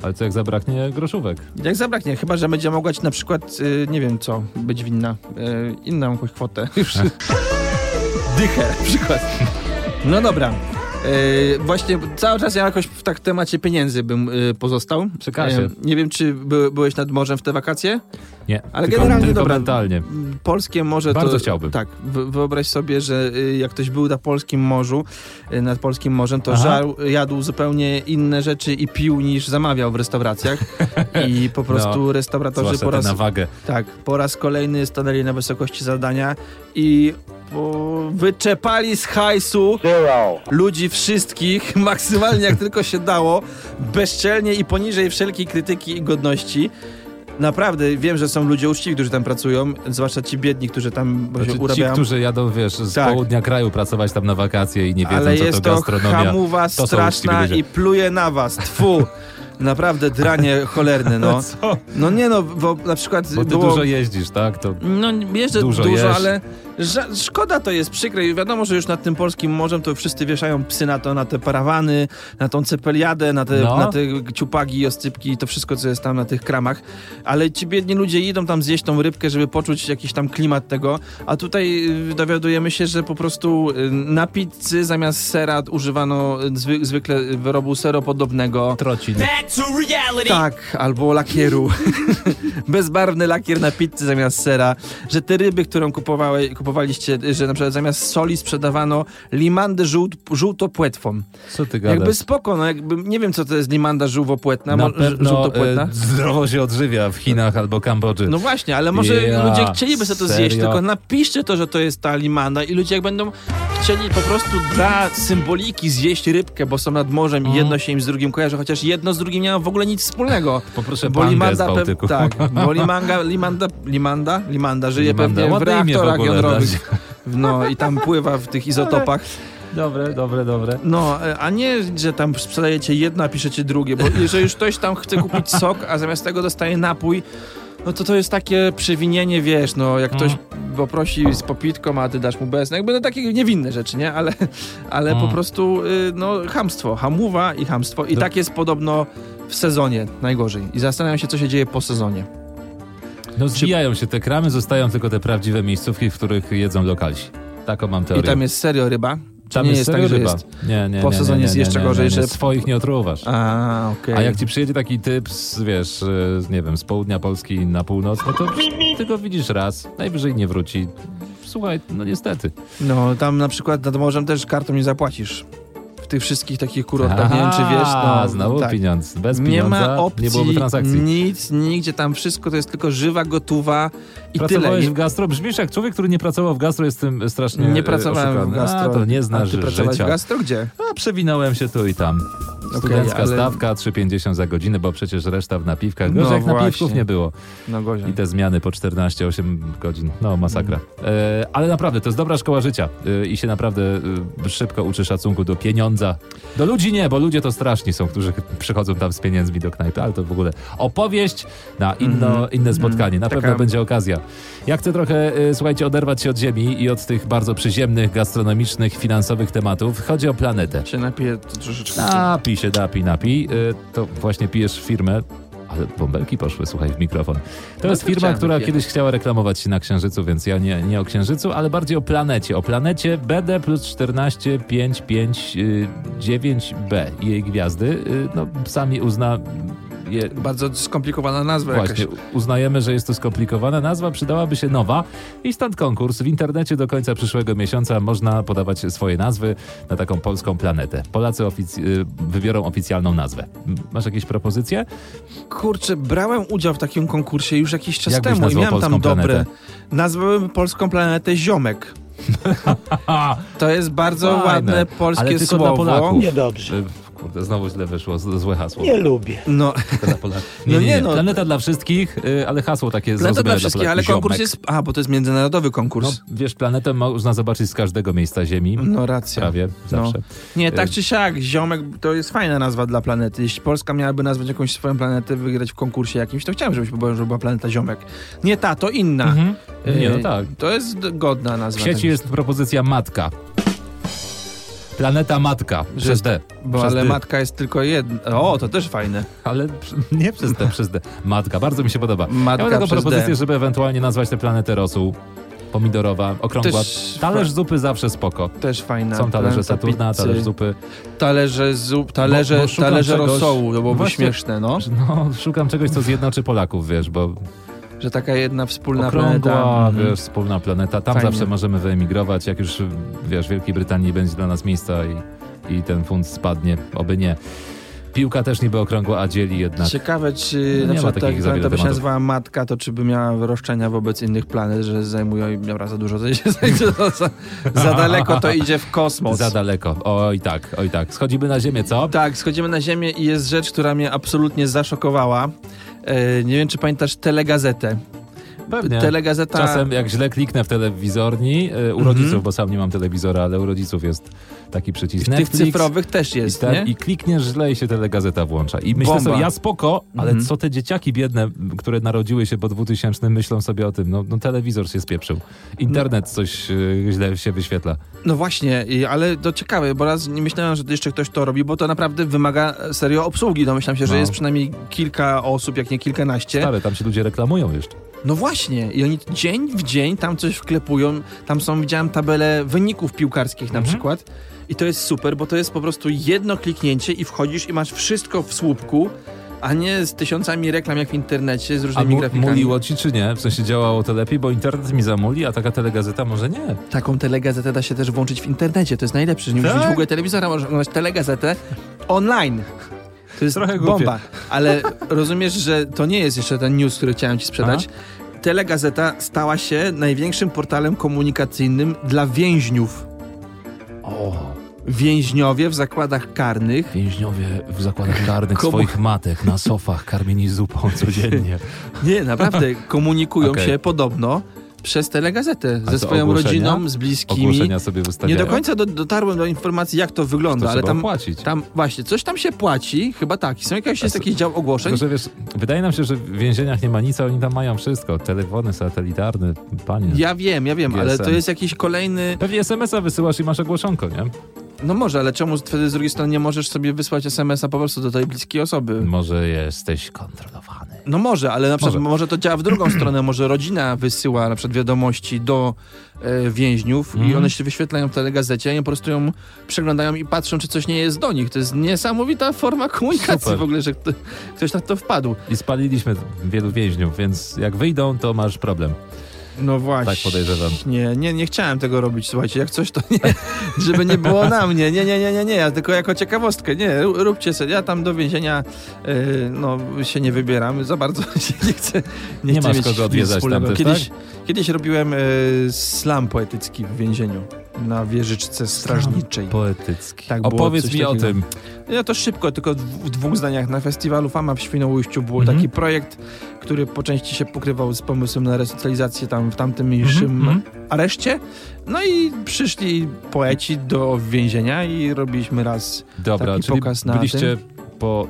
Speaker 1: Ale co jak zabraknie groszówek?
Speaker 2: Jak zabraknie, chyba że będzie mogła ci na przykład, y, nie wiem co, być winna, y, inną jakąś kwotę. Już. Dychę na przykład. No dobra. Y, właśnie cały czas ja jakoś w tak temacie pieniędzy bym y, pozostał.
Speaker 1: Przy kasie.
Speaker 2: Y, nie wiem, czy by, byłeś nad morzem w te wakacje?
Speaker 1: Nie,
Speaker 2: Ale
Speaker 1: tylko,
Speaker 2: generalnie
Speaker 1: tylko
Speaker 2: dobra.
Speaker 1: mentalnie.
Speaker 2: Polskie morze to...
Speaker 1: Bardzo chciałbym.
Speaker 2: Tak, wy- wyobraź sobie, że y, jak ktoś był na polskim morzu, y, nad polskim morzem, to
Speaker 1: Aha.
Speaker 2: żarł, jadł zupełnie inne rzeczy i pił niż zamawiał w restauracjach. I po prostu restauratorzy
Speaker 1: Zwłaszcza No.
Speaker 2: po
Speaker 1: te
Speaker 2: raz,
Speaker 1: na wagę.
Speaker 2: tak, po raz kolejny stanęli na wysokości zadania i po, wyczepali z hajsu ludzi wszystkich maksymalnie jak tylko się dało, bezczelnie i poniżej wszelkiej krytyki i godności. Naprawdę wiem, że są ludzie uczciwi, którzy tam pracują, zwłaszcza ci biedni, którzy tam
Speaker 1: Znaczy,
Speaker 2: się
Speaker 1: ci,
Speaker 2: urabiają.
Speaker 1: którzy jadą, wiesz, z
Speaker 2: Tak.
Speaker 1: południa kraju pracować tam na wakacje i nie wiedzą,
Speaker 2: Ale
Speaker 1: co
Speaker 2: jest
Speaker 1: to
Speaker 2: to
Speaker 1: gastronomia.
Speaker 2: hamuwa
Speaker 1: są uczciwi
Speaker 2: straszna
Speaker 1: ludzie.
Speaker 2: i pluje na was. Tfu! Naprawdę dranie cholerne, no.
Speaker 1: Co?
Speaker 2: No nie no, bo na przykład
Speaker 1: Bo ty
Speaker 2: było...
Speaker 1: dużo jeździsz, tak? To
Speaker 2: No jeżdżę
Speaker 1: Dużo
Speaker 2: dużo,
Speaker 1: jesz.
Speaker 2: ale ża- szkoda to jest, przykre. I wiadomo, że już nad tym polskim morzem to wszyscy wieszają psy na to, na te parawany, na tą cepeliadę, na te,
Speaker 1: No.
Speaker 2: na te ciupagi i oscypki, to wszystko, co jest tam na tych kramach. Ale ci biedni ludzie idą tam zjeść tą rybkę, żeby poczuć jakiś tam klimat tego. A tutaj y, dowiadujemy się, że po prostu y, na pizzy zamiast sera używano y, zwy- zwykle wyrobu seropodobnego.
Speaker 1: trocin.
Speaker 2: Tak, albo lakieru. Bezbarwny lakier na pizzy zamiast sera. Że te ryby, którą kupowały, kupowaliście, że na przykład zamiast soli sprzedawano limandę żółt, żółtopłetwą.
Speaker 1: Co ty
Speaker 2: Jakby
Speaker 1: gadasz?
Speaker 2: spoko, no jakby, nie wiem co to jest limanda żółwopłetna,
Speaker 1: Na
Speaker 2: mo-
Speaker 1: pewno
Speaker 2: żółtopłetna.
Speaker 1: e, zdrowo się odżywia w Chinach albo Kambodży.
Speaker 2: No właśnie, ale może
Speaker 1: Ja,
Speaker 2: ludzie chcieliby sobie to zjeść,
Speaker 1: serio?
Speaker 2: tylko napiszcie to, że to jest ta limanda i ludzie jak będą chcieli po prostu dla symboliki zjeść rybkę, bo są nad morzem i
Speaker 1: Mhm.
Speaker 2: jedno się im z drugim kojarzy, chociaż jedno z drugim nie ma w ogóle nic wspólnego.
Speaker 1: Poproszę Bolimanza z
Speaker 2: pew-
Speaker 1: Bałtyku.
Speaker 2: tak, bo Limanga, Limanda, Limanda, Limanda żyje
Speaker 1: Limanda.
Speaker 2: pewnie w
Speaker 1: Ładne imię w
Speaker 2: reaktorach
Speaker 1: ogóle,
Speaker 2: jądrowych. No i tam pływa w tych izotopach.
Speaker 1: Dobre, dobre, dobre.
Speaker 2: No, e, a nie, że tam sprzedajecie jedno, a piszecie drugie, bo jeżeli już ktoś tam chce kupić sok, a zamiast tego dostaje napój, no to to jest takie przewinienie, wiesz, no jak ktoś
Speaker 1: Mhm.
Speaker 2: poprosi z popitką, a ty dasz mu bez, no jakby no takie niewinne rzeczy, nie? Ale, ale
Speaker 1: Mm.
Speaker 2: po prostu, y, no hamstwo, hamuwa i hamstwo i
Speaker 1: Do-
Speaker 2: tak jest podobno w sezonie najgorzej i zastanawiam się, co się dzieje po sezonie.
Speaker 1: No zbijają się te kramy, zostają tylko te prawdziwe miejscówki, w których jedzą lokalsi. Taką mam
Speaker 2: I
Speaker 1: teorię.
Speaker 2: tam jest serio ryba? Czy
Speaker 1: Tam
Speaker 2: nie jest
Speaker 1: serio
Speaker 2: tak, że
Speaker 1: ryba.
Speaker 2: jest?
Speaker 1: Nie, nie,
Speaker 2: Po
Speaker 1: nie,
Speaker 2: sezonie
Speaker 1: nie,
Speaker 2: jest
Speaker 1: nie,
Speaker 2: jeszcze
Speaker 1: nie, nie,
Speaker 2: gorzej,
Speaker 1: nie.
Speaker 2: że-
Speaker 1: Swoich nie otruwasz.
Speaker 2: A, okej.
Speaker 1: A jak ci przyjedzie taki typ, z, wiesz, e, z, nie wiem, z południa Polski na północ, no to ty go widzisz raz, najwyżej nie wróci. Słuchaj, no niestety.
Speaker 2: No, tam na przykład nad morzem też kartą nie zapłacisz. W tych wszystkich takich kurortach, tak nie wiem czy wiesz, no,
Speaker 1: znowu
Speaker 2: tak.
Speaker 1: pieniądz. Bez
Speaker 2: Nie
Speaker 1: pieniądza
Speaker 2: ma opcji,
Speaker 1: nie byłoby transakcji.
Speaker 2: nic, nigdzie tam wszystko to jest tylko żywa, gotowa i tyle.
Speaker 1: Pracowałeś w gastro? Brzmisz jak człowiek, który nie pracował w gastro, jest tym strasznie
Speaker 2: Nie,
Speaker 1: e,
Speaker 2: nie pracowałem
Speaker 1: oszukany.
Speaker 2: w gastro.
Speaker 1: A, to nie
Speaker 2: A
Speaker 1: znasz
Speaker 2: ty pracowałeś
Speaker 1: życia.
Speaker 2: w gastro? Gdzie?
Speaker 1: A przewinąłem się tu i tam. Studencka
Speaker 2: ale-
Speaker 1: stawka, 3,50 za godzinę, bo przecież reszta w napiwkach. Gorzej
Speaker 2: No
Speaker 1: jak napiwków
Speaker 2: właśnie.
Speaker 1: nie było.
Speaker 2: No gorzej.
Speaker 1: I te zmiany po 14-8 godzin. No, masakra. E, ale naprawdę, to jest dobra szkoła życia. E, I się naprawdę e, szybko uczy szacunku do pieniądza. Do ludzi nie, bo ludzie to straszni są, którzy przychodzą tam z pieniędzmi do knajpy. Ale to w ogóle opowieść na inno,
Speaker 2: Mhm.
Speaker 1: inne spotkanie. Na
Speaker 2: Taka-
Speaker 1: pewno będzie okazja. Ja chcę trochę, e, słuchajcie, oderwać się od ziemi i od tych bardzo przyziemnych, gastronomicznych, finansowych tematów. Chodzi o planetę.
Speaker 2: Się napiję to troszeczkę.
Speaker 1: Napij się, napij, napij. Y, To właśnie pijesz firmę. Ale bąbelki poszły, słuchaj, w mikrofon. To
Speaker 2: No
Speaker 1: jest
Speaker 2: to
Speaker 1: firma,
Speaker 2: chciałem
Speaker 1: która
Speaker 2: wypijać.
Speaker 1: kiedyś chciała reklamować się na Księżycu, więc ja nie, nie o Księżycu, ale bardziej o planecie. O planecie BD plus 14 5, 5, y, 9 b i jej gwiazdy. Y, No, sami uzna... Je,
Speaker 2: Bardzo skomplikowana nazwa
Speaker 1: Właśnie,
Speaker 2: jakaś.
Speaker 1: uznajemy, że jest to skomplikowana nazwa, przydałaby się nowa i stąd konkurs. W internecie do końca przyszłego miesiąca można podawać swoje nazwy na taką polską planetę. Polacy ofic- y, wybiorą oficjalną nazwę. M- Masz jakieś propozycje?
Speaker 2: Kurczę, brałem udział w takim konkursie już jakiś czas
Speaker 1: Jak byś
Speaker 2: temu i
Speaker 1: nazwał
Speaker 2: miałem tam
Speaker 1: polską
Speaker 2: dobre.
Speaker 1: planetę?
Speaker 2: Nazwałem polską planetę Ziomek.
Speaker 1: A,
Speaker 2: To jest bardzo
Speaker 1: Fajne, ale
Speaker 2: ładne polskie
Speaker 1: tylko dla
Speaker 2: słowo.
Speaker 1: Polaków.
Speaker 3: Niedobrze.
Speaker 1: y, kurde, znowu źle wyszło, z- złe hasło.
Speaker 3: Nie lubię.
Speaker 2: No,
Speaker 1: Tylko dla Polaków. Nie,
Speaker 2: No
Speaker 1: nie,
Speaker 2: nie,
Speaker 1: nie.
Speaker 2: no.
Speaker 1: Planeta dla wszystkich, y, ale hasło takie
Speaker 2: no to
Speaker 1: zrozumiałe
Speaker 2: dla wszystkich, ale
Speaker 1: Polaków.
Speaker 2: konkurs
Speaker 1: Ziomek.
Speaker 2: jest. A, bo to jest międzynarodowy
Speaker 1: No,
Speaker 2: konkurs.
Speaker 1: wiesz, planetę można zobaczyć z każdego miejsca Ziemi.
Speaker 2: No, racja.
Speaker 1: Prawie, zawsze.
Speaker 2: Nie, tak
Speaker 1: tak. Y-
Speaker 2: czy siak, ziomek to jest fajna nazwa dla planety. Jeśli Polska miałaby nazwać jakąś swoją planetę, wygrać w konkursie jakimś, to chciałem, żebyś powiedział, że była planeta ziomek. Nie ta, to inna.
Speaker 1: Mhm. Nie, no
Speaker 2: Tak. Y,
Speaker 1: tak.
Speaker 2: To jest d- godna nazwa. tak.
Speaker 1: W sieci
Speaker 2: tego.
Speaker 1: jest propozycja matka. Planeta matka. Przez
Speaker 2: Przez-
Speaker 1: D.
Speaker 2: Bo
Speaker 1: przez
Speaker 2: ale
Speaker 1: dy.
Speaker 2: matka jest tylko jedna. O, to też fajne.
Speaker 1: Ale przy- nie przez D, przez D. Matka. Bardzo mi się podoba.
Speaker 2: Matka
Speaker 1: ja mam taką
Speaker 2: przez
Speaker 1: propozycję,
Speaker 2: D.
Speaker 1: żeby ewentualnie nazwać tę planetę rosół. Pomidorowa, okrągła.
Speaker 2: Też-
Speaker 1: Talerz zupy zawsze spoko.
Speaker 2: Też fajna.
Speaker 1: Są talerze
Speaker 2: Planeta
Speaker 1: Saturna,
Speaker 2: pizzy,
Speaker 1: talerz zupy.
Speaker 2: Talerze zup, talerze,
Speaker 1: Bo- bo szukam
Speaker 2: talerze
Speaker 1: czegoś-
Speaker 2: rosołu, to byłoby
Speaker 1: Właśnie.
Speaker 2: śmieszne, no.
Speaker 1: No, szukam czegoś, co zjednoczy Polaków, wiesz, bo
Speaker 2: Że taka jedna wspólna
Speaker 1: okrągła,
Speaker 2: planeta. Mhm.
Speaker 1: wiesz, wspólna planeta. Tam
Speaker 2: Fajnie.
Speaker 1: zawsze możemy wyemigrować, jak już, wiesz, w Wielkiej Brytanii nie będzie dla nas miejsca i, i ten funt spadnie, oby nie. Piłka też niby okrągła, a dzieli jednak.
Speaker 2: Mhm. Ciekawe, czy
Speaker 1: Tak. No nie
Speaker 2: na
Speaker 1: ma
Speaker 2: przykład
Speaker 1: takich
Speaker 2: tak,
Speaker 1: za wiele
Speaker 2: planeta by się
Speaker 1: tematów.
Speaker 2: nazywała matka, to czy by miała roszczenia wobec innych planet, że zajmują i miała za dużo, to się zajdzie za, za, za daleko to idzie w kosmos.
Speaker 1: Za daleko. Oj tak, oj tak. Schodzimy na ziemię, co?
Speaker 2: tak, schodzimy na Ziemię i jest rzecz, która mnie absolutnie zaszokowała. E, nie wiem, czy pamiętasz telegazetę.
Speaker 1: Pewnie.
Speaker 2: Telegazeta.
Speaker 1: Czasem jak źle kliknę w telewizorni, e,
Speaker 2: Mhm.
Speaker 1: u rodziców, bo sam nie mam telewizora, ale u rodziców jest taki
Speaker 2: w
Speaker 1: przycisk
Speaker 2: tych
Speaker 1: Netflix.
Speaker 2: cyfrowych też
Speaker 1: I,
Speaker 2: jest,
Speaker 1: tak-
Speaker 2: nie?
Speaker 1: I klikniesz źle i się telegazeta włącza. I myślę
Speaker 2: Bomba.
Speaker 1: sobie, ja spoko, ale
Speaker 2: Mhm.
Speaker 1: co te dzieciaki biedne, m, które narodziły się po 2000, myślą sobie o tym? No, no telewizor się spieprzył. Internet coś e, źle się wyświetla.
Speaker 2: No właśnie, i- ale to ciekawe, bo raz nie myślałem, że jeszcze ktoś to robi, bo to naprawdę wymaga e, serio obsługi. Domyślam się, że
Speaker 1: No.
Speaker 2: jest przynajmniej kilka osób, jak nie kilkanaście.
Speaker 1: Stary, tam się ludzie reklamują jeszcze.
Speaker 2: No właśnie, i oni dzień w dzień tam coś wklepują. Tam są, widziałem tabelę wyników piłkarskich na
Speaker 1: Mhm.
Speaker 2: przykład. I to jest super, bo to jest po prostu jedno kliknięcie i wchodzisz i masz wszystko w słupku, a nie z tysiącami reklam jak w internecie, z
Speaker 1: A
Speaker 2: różnymi
Speaker 1: mu,
Speaker 2: grafikami.
Speaker 1: muliło ci czy nie? W sensie działało to lepiej, bo internet mi zamuli, a taka telegazeta może nie.
Speaker 2: Taką telegazetę da się też włączyć w internecie, to jest najlepsze, że nie musisz
Speaker 1: Tak?
Speaker 2: mieć w ogóle telewizora, możesz oglądać telegazetę online. To jest
Speaker 1: Trochę głupie.
Speaker 2: bomba, ale rozumiesz, że to nie jest jeszcze ten news, który chciałem ci sprzedać. Telegazeta stała się największym portalem komunikacyjnym dla więźniów.
Speaker 1: O,
Speaker 2: Więźniowie w zakładach karnych
Speaker 1: więźniowie w zakładach karnych
Speaker 2: Komu-
Speaker 1: swoich matek na sofach karmieni zupą codziennie.
Speaker 2: Nie, naprawdę komunikują
Speaker 1: Okej.
Speaker 2: się podobno przez telegazetę
Speaker 1: A
Speaker 2: ze
Speaker 1: to
Speaker 2: swoją
Speaker 1: ogłoszenia?
Speaker 2: rodziną, z bliskimi.
Speaker 1: Ogłoszenia sobie
Speaker 2: Nie
Speaker 1: wystawiają.
Speaker 2: do końca do, dotarłem do informacji, jak to wygląda,
Speaker 1: to
Speaker 2: ale
Speaker 1: trzeba
Speaker 2: tam,
Speaker 1: płacić.
Speaker 2: tam właśnie coś tam się płaci, chyba tak. Są jakieś, jest
Speaker 1: A co-
Speaker 2: jakiś dział ogłoszeń.
Speaker 1: Tylko, że wiesz, wydaje nam się, że w więzieniach nie ma nic, a oni tam mają wszystko. Telefony satelitarne, panie.
Speaker 2: Ja wiem, ja wiem, ale to
Speaker 1: GSM.
Speaker 2: jest jakiś kolejny.
Speaker 1: Pewnie SMS-a wysyłasz i masz ogłoszonko, nie?
Speaker 2: No może, ale czemu wtedy z drugiej strony nie możesz sobie wysłać SMS-a po prostu do tej bliskiej osoby?
Speaker 1: Może jesteś kontrolowany.
Speaker 2: No może, ale na przykład może,
Speaker 1: Może.
Speaker 2: to działa w drugą stronę, może rodzina wysyła na przykład wiadomości do e, więźniów i
Speaker 1: Mhm.
Speaker 2: one się wyświetlają w telegazecie i po prostu ją przeglądają i patrzą, czy coś nie jest do nich. To jest niesamowita forma komunikacji
Speaker 1: Super.
Speaker 2: w ogóle, że kto, ktoś na to wpadł.
Speaker 1: I spaliliśmy wielu więźniów, więc jak wyjdą, to masz problem.
Speaker 2: No właśnie.
Speaker 1: Tak podejrzewam.
Speaker 2: Nie, nie, nie chciałem tego robić, słuchajcie, jak coś to nie, żeby nie było na mnie, nie, nie, nie, nie, nie, ja tylko jako ciekawostkę, nie, ró- róbcie sobie, ja tam do więzienia, e, no, się nie wybieram, za bardzo się nie chcę, nie,
Speaker 1: Nie
Speaker 2: chcę
Speaker 1: masz
Speaker 2: mieć
Speaker 1: kogo
Speaker 2: nic
Speaker 1: odwiedzać tak? tam
Speaker 2: wspólnego.
Speaker 1: też,
Speaker 2: kiedyś, kiedyś robiłem e, slam poetycki w więzieniu na wieżyczce strażniczej.
Speaker 1: Poetycki.
Speaker 2: Tak, było
Speaker 1: Opowiedz
Speaker 2: coś
Speaker 1: mi o
Speaker 2: takiego.
Speaker 1: tym.
Speaker 2: Ja to szybko, tylko w w dwóch zdaniach. Na festiwalu Fama w Świnoujściu był
Speaker 1: Mhm.
Speaker 2: taki projekt, który po części się pokrywał z pomysłem na resocjalizację tam w tamtym mniejszym
Speaker 1: Mhm, mhm.
Speaker 2: areszcie. No i przyszli poeci do więzienia i robiliśmy raz.
Speaker 1: Dobra,
Speaker 2: Taki
Speaker 1: czyli
Speaker 2: pokaz na
Speaker 1: byliście po,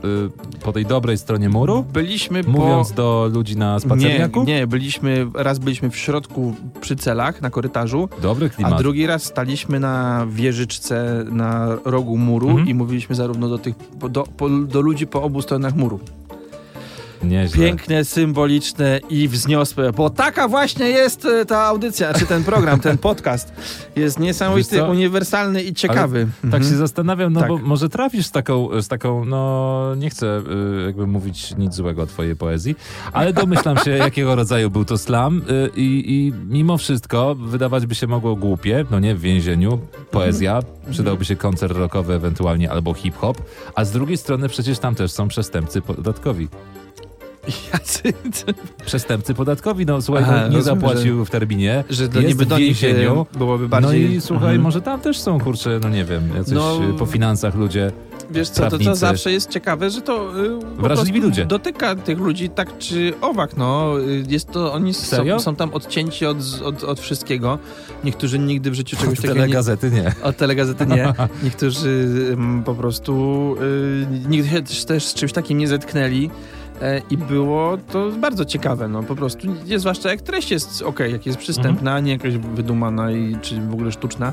Speaker 1: y, po tej dobrej stronie muru,
Speaker 2: Byliśmy
Speaker 1: mówiąc
Speaker 2: po...
Speaker 1: do ludzi na
Speaker 2: Nie,
Speaker 1: spacerniaku?
Speaker 2: nie, byliśmy, raz byliśmy w środku przy celach, na korytarzu,
Speaker 1: Dobry klimat.
Speaker 2: a drugi raz staliśmy na wieżyczce na rogu muru
Speaker 1: Mhm.
Speaker 2: i mówiliśmy zarówno do tych, po- do, po, do ludzi po obu stronach muru.
Speaker 1: Nieźle.
Speaker 2: Piękne, symboliczne i wzniosłe, bo taka właśnie jest e, ta audycja, czy ten program, ten podcast. Jest
Speaker 1: Wiesz
Speaker 2: niesamowity,
Speaker 1: co?
Speaker 2: uniwersalny i ciekawy.
Speaker 1: Tak
Speaker 2: Mhm.
Speaker 1: się zastanawiam, no
Speaker 2: Tak.
Speaker 1: bo może trafisz z taką, z taką, no nie chcę y, jakby mówić nic złego o twojej poezji, ale domyślam się, jakiego rodzaju był to slam y, i, i mimo wszystko wydawać by się mogło głupie, no nie, w więzieniu, poezja,
Speaker 2: Mhm.
Speaker 1: przydałby się koncert rockowy ewentualnie albo hip-hop, a z drugiej strony przecież tam też są przestępcy podatkowi.
Speaker 2: Jacy,
Speaker 1: Przestępcy podatkowi, no słuchaj,
Speaker 2: Aha,
Speaker 1: no, nie
Speaker 2: rozumiem,
Speaker 1: zapłacił w terminie,
Speaker 2: że dla
Speaker 1: jest
Speaker 2: niby do
Speaker 1: w
Speaker 2: nich
Speaker 1: więzieniu.
Speaker 2: e, byłoby
Speaker 1: No
Speaker 2: bardziej...
Speaker 1: i słuchaj,
Speaker 2: Mhm.
Speaker 1: może tam też są, kurczę, no nie wiem, jacyś
Speaker 2: No.
Speaker 1: y, po finansach ludzie.
Speaker 2: Wiesz co, to, to
Speaker 1: prawnicy.
Speaker 2: zawsze jest ciekawe, że to... y, po
Speaker 1: Wrażliwi
Speaker 2: prostu
Speaker 1: ludzie.
Speaker 2: Dotyka tych ludzi tak czy owak, no. y, Jest to... Oni są,
Speaker 1: Serio?
Speaker 2: są tam odcięci od, od, od wszystkiego. Niektórzy nigdy w życiu czegoś takiego
Speaker 1: Tyle
Speaker 2: nie...
Speaker 1: gazety nie.
Speaker 2: Od telegazety nie. Niektórzy mm, po prostu y, nigdy się też, też z czymś takim nie zetknęli. e, I było to bardzo ciekawe, no po prostu, nie, zwłaszcza jak treść jest ok, jak jest przystępna, nie jakaś wydumana i, czy w ogóle sztuczna.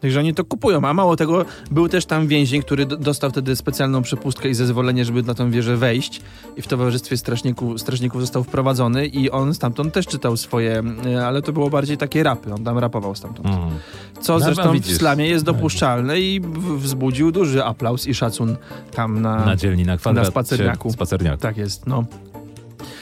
Speaker 2: Także oni to kupują, a mało tego, był też tam więzień, który d- dostał wtedy specjalną przepustkę i zezwolenie, żeby na tą wieżę wejść i w towarzystwie strażników, strażników został wprowadzony i on stamtąd też czytał swoje, e, ale to było bardziej takie rapy, on tam rapował stamtąd.
Speaker 1: Mm.
Speaker 2: Co
Speaker 1: No,
Speaker 2: zresztą
Speaker 1: no,
Speaker 2: w
Speaker 1: widzisz.
Speaker 2: slamie jest dopuszczalne i w- wzbudził duży aplauz i szacun tam na.
Speaker 1: Na dzielni, na kwadrat.
Speaker 2: Na spacerniaku.
Speaker 1: Spacerniaku.
Speaker 2: tak jest, no.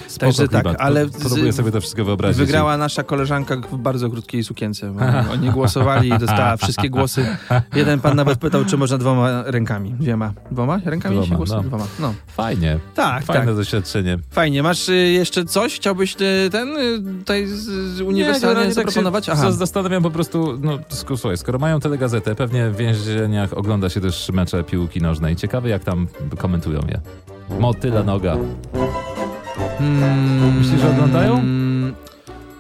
Speaker 1: Spoko,
Speaker 2: Także tak,
Speaker 1: klimat.
Speaker 2: ale
Speaker 1: Po-
Speaker 2: z-
Speaker 1: Próbuję sobie to wszystko wyobrazić.
Speaker 2: Wygrała nasza koleżanka w bardzo krótkiej sukience. Bo oni głosowali i dostała wszystkie głosy. Jeden pan nawet pytał, czy można dwoma rękami. Dwiema. Dwoma rękami się
Speaker 1: Dwoma,
Speaker 2: głosuje?
Speaker 1: no.
Speaker 2: Dwoma. No.
Speaker 1: Fajnie.
Speaker 2: Tak,
Speaker 1: Fajne
Speaker 2: tak.
Speaker 1: doświadczenie.
Speaker 2: Fajnie. Masz y, jeszcze coś? Chciałbyś y, ten y, tutaj z, z uniwersalnie zaproponować?
Speaker 1: Tak się
Speaker 2: Aha.
Speaker 1: zas- zastanawiam po prostu, no sk- słuchaj, skoro mają telegazetę, pewnie w więzieniach ogląda się też mecze piłki nożnej. Ciekawe jak tam komentują je. Motyla noga.
Speaker 2: Hmm,
Speaker 1: Myślisz, że oglądają?
Speaker 2: mm,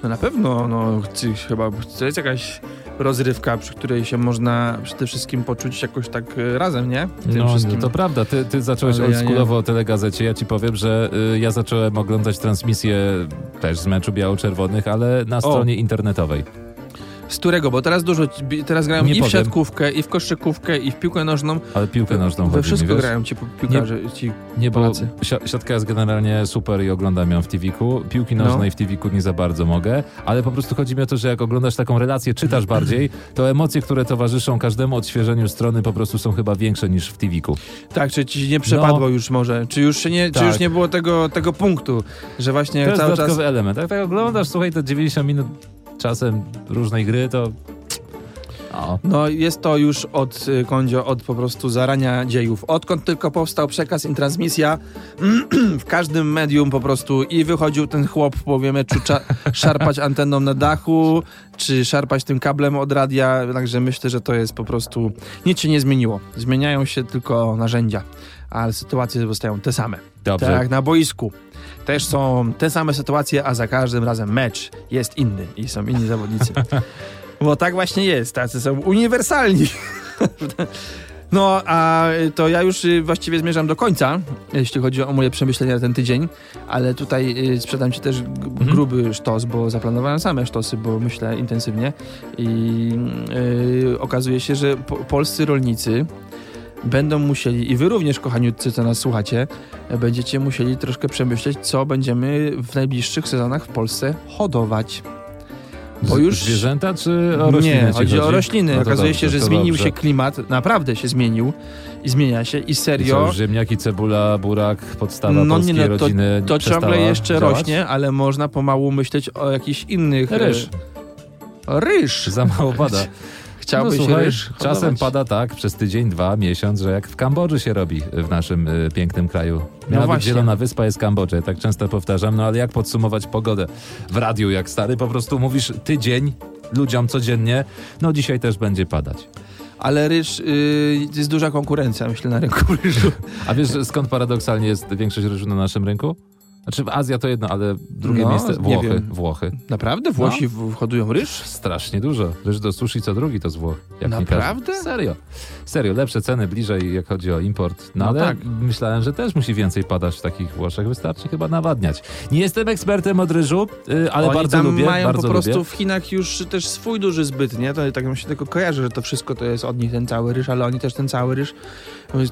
Speaker 2: No na pewno, no chci- chyba to jest jakaś rozrywka, przy której się można przede wszystkim poczuć jakoś tak e, razem, nie? W tym
Speaker 1: No,
Speaker 2: wszystkim.
Speaker 1: to prawda, ty, ty zacząłeś
Speaker 2: Ale ja nie.
Speaker 1: oldschoolowo o telegazecie. Ja ci powiem, że y, ja zacząłem oglądać transmisję też z meczu biało-czerwonych, ale na stronie internetowej.
Speaker 2: Z którego? Bo teraz dużo, ci- bi- teraz grają
Speaker 1: Nie
Speaker 2: i
Speaker 1: powiem.
Speaker 2: w siatkówkę, i w koszykówkę, i w piłkę nożną.
Speaker 1: Ale piłkę nożną chodzi
Speaker 2: We
Speaker 1: mi,
Speaker 2: wszystko
Speaker 1: wiesz?
Speaker 2: grają ci pi- piłkarze, ci
Speaker 1: Nie, bo
Speaker 2: Polacy.
Speaker 1: si- siatka jest generalnie super i oglądam ją w TV-ku. Piłki
Speaker 2: No.
Speaker 1: nożnej w TV-ku nie za bardzo mogę, ale po prostu chodzi mi o to, że jak oglądasz taką relację, czytasz bardziej, to emocje, które towarzyszą każdemu odświeżeniu strony po prostu są chyba większe niż w TV-ku.
Speaker 2: Tak, czy ci nie przepadło już może? Czy już, się nie,
Speaker 1: No. Tak.
Speaker 2: czy już nie było tego, tego punktu, że właśnie
Speaker 1: To jest
Speaker 2: cały czas...
Speaker 1: dodatkowy element. Jak tak oglądasz, słuchaj, te 90 minut czasem różnej gry, to... O.
Speaker 2: No jest to już od y, Kondzio, od po prostu zarania dziejów. Odkąd tylko powstał przekaz i transmisja, w każdym medium po prostu i wychodził ten chłop w połowie meczu cza- szarpać anteną na dachu, czy szarpać tym kablem od radia, także myślę, że to jest po prostu... Nic się nie zmieniło. Zmieniają się tylko narzędzia, ale sytuacje zostają te same.
Speaker 1: Dobrze.
Speaker 2: Tak, jak na boisku. Też są te same sytuacje, a za każdym razem mecz jest inny i są inni zawodnicy. Bo tak właśnie jest, tacy są uniwersalni. No, a to ja już y, właściwie zmierzam do końca, jeśli chodzi o moje przemyślenia na ten tydzień, ale tutaj y, sprzedam ci też g- gruby sztos, bo zaplanowałem same sztosy, bo myślę intensywnie i y, okazuje się, że po polscy rolnicy będą musieli, i wy również, kochaniutcy, co nas słuchacie, będziecie musieli troszkę przemyśleć, co będziemy w najbliższych sezonach w Polsce hodować.
Speaker 1: Z-
Speaker 2: Bo już-
Speaker 1: Zwierzęta czy o rośliny?
Speaker 2: Nie,
Speaker 1: ci
Speaker 2: chodzi o rośliny.
Speaker 1: No to
Speaker 2: Okazuje
Speaker 1: dobrze,
Speaker 2: się, że
Speaker 1: to
Speaker 2: zmienił
Speaker 1: dobrze.
Speaker 2: się klimat, naprawdę się zmienił i zmienia się i
Speaker 1: I co,
Speaker 2: serio.
Speaker 1: już ziemniaki, cebula, burak, podstawa
Speaker 2: No nie,
Speaker 1: polskiej
Speaker 2: no to-
Speaker 1: rodziny
Speaker 2: To
Speaker 1: przestała
Speaker 2: ciągle jeszcze
Speaker 1: działać?
Speaker 2: rośnie, ale można pomału myśleć o jakichś innych. e,
Speaker 1: Ryż.
Speaker 2: Ryż.
Speaker 1: Za mało pada.
Speaker 2: Chciałbyś
Speaker 1: no, słuchaj,
Speaker 2: ryż. hodować.
Speaker 1: Czasem pada tak przez tydzień, dwa, miesiąc, że jak w Kambodży się robi y, w naszym y, pięknym kraju. Miała być
Speaker 2: No właśnie.
Speaker 1: Zielona Wyspa jest Kambodża, ja tak często powtarzam, no ale jak podsumować pogodę w radiu, jak stary, po prostu mówisz tydzień ludziom codziennie, no dzisiaj też będzie padać.
Speaker 2: Ale ryż y, jest duża konkurencja, myślę, na rynku ryżu.
Speaker 1: A wiesz że skąd paradoksalnie jest większość ryżu na naszym rynku? Znaczy Azja to jedno, ale drugie
Speaker 2: No,
Speaker 1: miejsce
Speaker 2: nie
Speaker 1: Włochy.
Speaker 2: wiem.
Speaker 1: Włochy.
Speaker 2: Naprawdę? Włosi
Speaker 1: No.
Speaker 2: w- hodują ryż?
Speaker 1: Strasznie dużo. Ryż do sushi co drugi to z Włoch. Jak nie
Speaker 2: Naprawdę?
Speaker 1: każdy. Serio. Serio, lepsze ceny bliżej, jak chodzi o import. No,
Speaker 2: No
Speaker 1: ale
Speaker 2: tak.
Speaker 1: myślałem, że też musi więcej padać w takich Włoszech. Wystarczy chyba nawadniać. Nie jestem ekspertem od ryżu, y, ale
Speaker 2: Oni
Speaker 1: bardzo
Speaker 2: tam
Speaker 1: lubię.
Speaker 2: mają
Speaker 1: bardzo
Speaker 2: po prostu
Speaker 1: lubię.
Speaker 2: w Chinach już też swój duży zbyt, nie? To tak mi się tylko kojarzy, że to wszystko to jest od nich ten cały ryż, ale oni też ten cały ryż,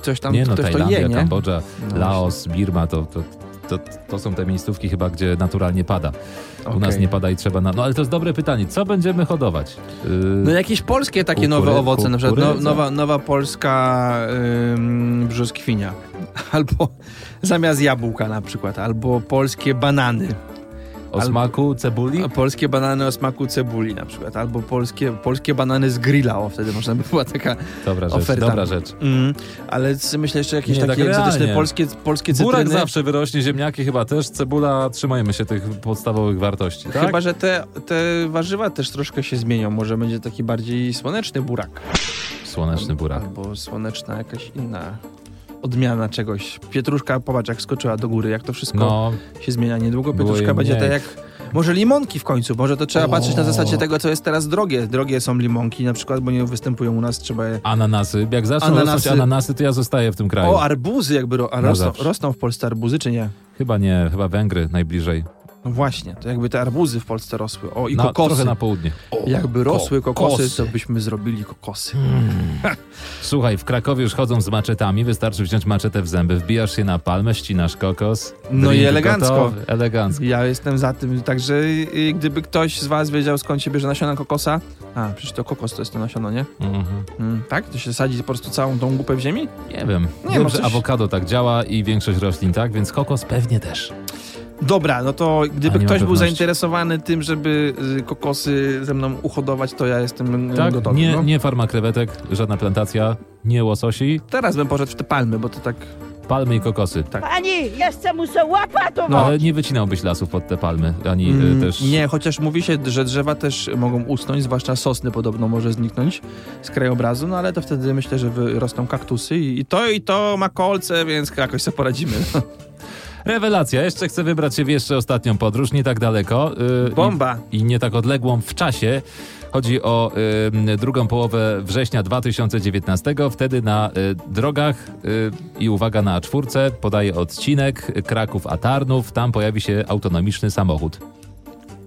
Speaker 2: coś tam
Speaker 1: nie no,
Speaker 2: ktoś to
Speaker 1: Tajlandia,
Speaker 2: je, nie?
Speaker 1: Kambodża,
Speaker 2: No
Speaker 1: Laos, Birma to... to to, to są te miejscówki chyba, gdzie naturalnie pada. U
Speaker 2: Okej.
Speaker 1: nas nie pada i trzeba... Na... No ale to jest dobre pytanie. Co będziemy hodować? Yy,
Speaker 2: No jakieś polskie takie nowe
Speaker 1: Kukury-
Speaker 2: owoce, na przykład no,
Speaker 1: kukurydza.
Speaker 2: nowa, nowa polska ym, brzoskwinia, albo zamiast jabłka na przykład, albo polskie banany,
Speaker 1: o
Speaker 2: albo-
Speaker 1: smaku cebuli?
Speaker 2: A polskie banany o smaku cebuli na przykład, albo polskie, polskie banany z grilla, o wtedy można by była taka,
Speaker 1: Dobra rzecz,
Speaker 2: oferta.
Speaker 1: dobra rzecz.
Speaker 2: mm, ale c- myślę jeszcze jakieś
Speaker 1: Nie, tak
Speaker 2: takie egzotyczne
Speaker 1: realnie.
Speaker 2: polskie, polskie
Speaker 1: Burak
Speaker 2: cytryny.
Speaker 1: zawsze wyrośnie, ziemniaki chyba też, cebula, trzymajmy się tych podstawowych wartości, tak?
Speaker 2: Chyba, że te, te warzywa też troszkę się zmienią. Może będzie taki bardziej słoneczny burak.
Speaker 1: Słoneczny burak.
Speaker 2: Albo słoneczna jakaś inna odmiana czegoś. Pietruszka, popatrz jak skoczyła do góry, jak to wszystko
Speaker 1: No,
Speaker 2: się zmienia. Niedługo
Speaker 1: Było
Speaker 2: pietruszka
Speaker 1: jej
Speaker 2: będzie tak
Speaker 1: mniej.
Speaker 2: jak... Może limonki w końcu, może to trzeba
Speaker 1: O.
Speaker 2: patrzeć na zasadzie tego, co jest teraz drogie. Drogie są limonki na przykład, bo nie występują u nas, trzeba je...
Speaker 1: ananasy. Jak zaczną
Speaker 2: Ananasy.
Speaker 1: rosnąć ananasy, to ja zostaję w tym kraju.
Speaker 2: O, arbuzy jakby ro... a
Speaker 1: No
Speaker 2: rosną,
Speaker 1: zawsze.
Speaker 2: rosną w Polsce arbuzy, czy nie?
Speaker 1: Chyba nie, chyba Węgry najbliżej.
Speaker 2: No właśnie, to jakby te arbuzy w Polsce rosły. O, i
Speaker 1: na,
Speaker 2: kokosy.
Speaker 1: Trochę na południe.
Speaker 2: Jakby rosły kokosy,
Speaker 1: kokosy. Hmm.
Speaker 2: to byśmy zrobili kokosy. Hmm.
Speaker 1: Słuchaj, w Krakowie już chodzą z maczetami, wystarczy wziąć maczetę w zęby, wbijasz się na palmę, ścinasz kokos.
Speaker 2: No i
Speaker 1: drink
Speaker 2: elegancko.
Speaker 1: gotowy, elegancko.
Speaker 2: Ja jestem za tym, także y, gdyby ktoś z was wiedział skąd się bierze nasiona kokosa, a przecież to kokos to jest to nasiono, nie?
Speaker 1: Mhm.
Speaker 2: Mm, tak? To się sadzi po prostu całą tą głupę w ziemi?
Speaker 1: Nie wiem.
Speaker 2: Nie,
Speaker 1: wiem,
Speaker 2: no
Speaker 1: że
Speaker 2: coś-
Speaker 1: awokado tak działa i większość roślin tak, więc kokos pewnie też.
Speaker 2: Dobra, no to
Speaker 1: A
Speaker 2: gdyby
Speaker 1: nie ma
Speaker 2: ktoś był
Speaker 1: pewności.
Speaker 2: zainteresowany tym, żeby y, kokosy ze mną uhodować, to ja jestem y,
Speaker 1: Tak?
Speaker 2: gotowy.
Speaker 1: Nie,
Speaker 2: no.
Speaker 1: nie farma krewetek, żadna plantacja, nie łososi,
Speaker 2: Teraz bym poszedł w te palmy, bo to tak...
Speaker 1: palmy i kokosy.
Speaker 4: Pani, jeszcze muszę łapatą!
Speaker 2: No.
Speaker 1: Ale nie wycinałbyś lasów pod te palmy, ani
Speaker 2: Mm,
Speaker 1: y, też...
Speaker 2: Nie, chociaż mówi się, że drzewa też mogą usnąć, zwłaszcza sosny podobno może zniknąć z krajobrazu, no ale to wtedy myślę, że wyrosną kaktusy i i to i to ma kolce, więc jakoś sobie poradzimy.
Speaker 1: Rewelacja. Jeszcze chcę wybrać się w jeszcze ostatnią podróż, nie tak daleko. y,
Speaker 2: Bomba.
Speaker 1: I, I nie tak odległą w czasie. Chodzi o y, drugą połowę września 2019. Wtedy na y, drogach y, i uwaga na czwórce podaje odcinek Kraków a Tarnów. Tam pojawi się autonomiczny samochód.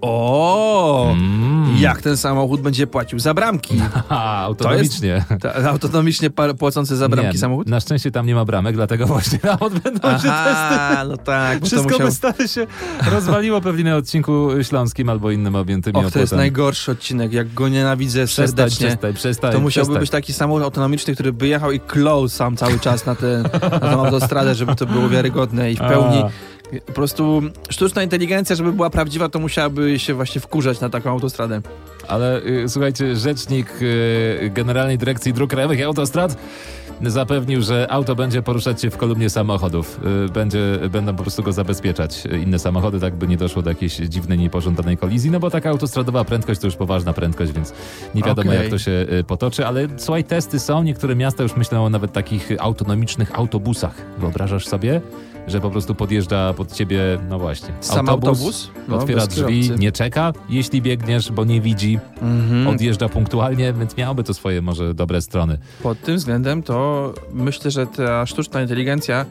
Speaker 2: O!
Speaker 1: Mm.
Speaker 2: Jak ten samochód będzie płacił za bramki?
Speaker 1: Ha, autonomicznie.
Speaker 2: Ta, autonomicznie pa- płacący za bramki
Speaker 1: nie,
Speaker 2: samochód?
Speaker 1: Na szczęście tam nie ma bramek, dlatego właśnie na odbędą się testy.
Speaker 2: Aha, no tak. Bo to
Speaker 1: Wszystko
Speaker 2: musiał...
Speaker 1: by stary się rozwaliło pewnie na odcinku śląskim albo innym objętym
Speaker 2: Och, to jest najgorszy odcinek, jak go nienawidzę
Speaker 1: Przestań,
Speaker 2: serdecznie.
Speaker 1: przestań, przestań.
Speaker 2: To musiałby
Speaker 1: przestań.
Speaker 2: być taki samochód autonomiczny, który by jechał i klął sam cały czas na, tę na tą autostradę, żeby to było wiarygodne i w pełni. Po prostu sztuczna inteligencja, żeby była prawdziwa, to musiałaby się właśnie wkurzać na taką autostradę.
Speaker 1: Ale y, słuchajcie, rzecznik y, Generalnej Dyrekcji Dróg Krajowych i Autostrad zapewnił, że auto będzie poruszać się w kolumnie samochodów. Y, będzie, będą po prostu go zabezpieczać y, inne samochody, tak by nie doszło do jakiejś dziwnej, niepożądanej kolizji, no bo taka autostradowa prędkość to już poważna prędkość, więc nie wiadomo
Speaker 2: Okej.
Speaker 1: jak to się y, potoczy, ale słuchaj, testy są, niektóre miasta już myślą o nawet takich autonomicznych autobusach. Wyobrażasz sobie? Że po prostu podjeżdża pod ciebie, no właśnie.
Speaker 2: Sam autobus? No,
Speaker 1: otwiera
Speaker 2: bez
Speaker 1: drzwi,
Speaker 2: kierowcy.
Speaker 1: nie czeka, jeśli biegniesz, bo nie widzi,
Speaker 2: Mhm. Tak,
Speaker 1: odjeżdża punktualnie, więc miałoby to swoje może dobre strony.
Speaker 2: Pod tym względem to myślę, że ta sztuczna inteligencja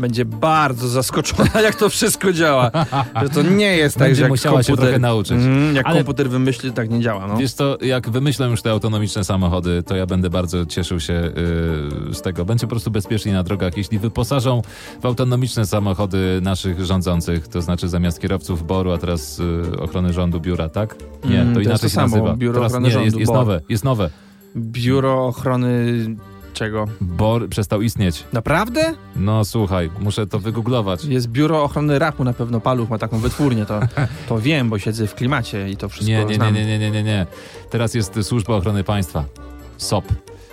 Speaker 2: będzie bardzo zaskoczona, jak to wszystko działa. Że to nie jest tak,
Speaker 1: Będzie
Speaker 2: że jak
Speaker 1: musiała się
Speaker 2: komputer...
Speaker 1: trochę nauczyć.
Speaker 2: Mhm, jak
Speaker 1: Ale-
Speaker 2: komputer wymyśli, tak nie działa. No.
Speaker 1: Wiesz co, jak wymyślą już te autonomiczne samochody, to ja będę bardzo cieszył się yy, z tego. Będzie po prostu bezpieczniej na drogach, jeśli wyposażą w autonomiczne samochody naszych rządzących, to znaczy zamiast kierowców BOR-u, a teraz yy, ochrony rządu biura, tak? Nie,
Speaker 2: Mm,
Speaker 1: to
Speaker 2: to jest
Speaker 1: inaczej się
Speaker 2: to samo,
Speaker 1: nazywa.
Speaker 2: biuro
Speaker 1: teraz,
Speaker 2: ochrony
Speaker 1: nie, jest,
Speaker 2: rządu,
Speaker 1: jest
Speaker 2: BOR.
Speaker 1: nowe, jest nowe.
Speaker 2: Biuro ochrony czego?
Speaker 1: BOR przestał istnieć.
Speaker 2: Naprawdę?
Speaker 1: No słuchaj, muszę to wygooglować.
Speaker 2: Jest biuro ochrony rapu na pewno, Paluch ma taką wytwórnię, to, to wiem, bo siedzę w klimacie i to wszystko
Speaker 1: Nie, nie, nie,
Speaker 2: znam.
Speaker 1: nie, nie, nie, nie, nie. Teraz jest y, Służba Ochrony Państwa. SOP.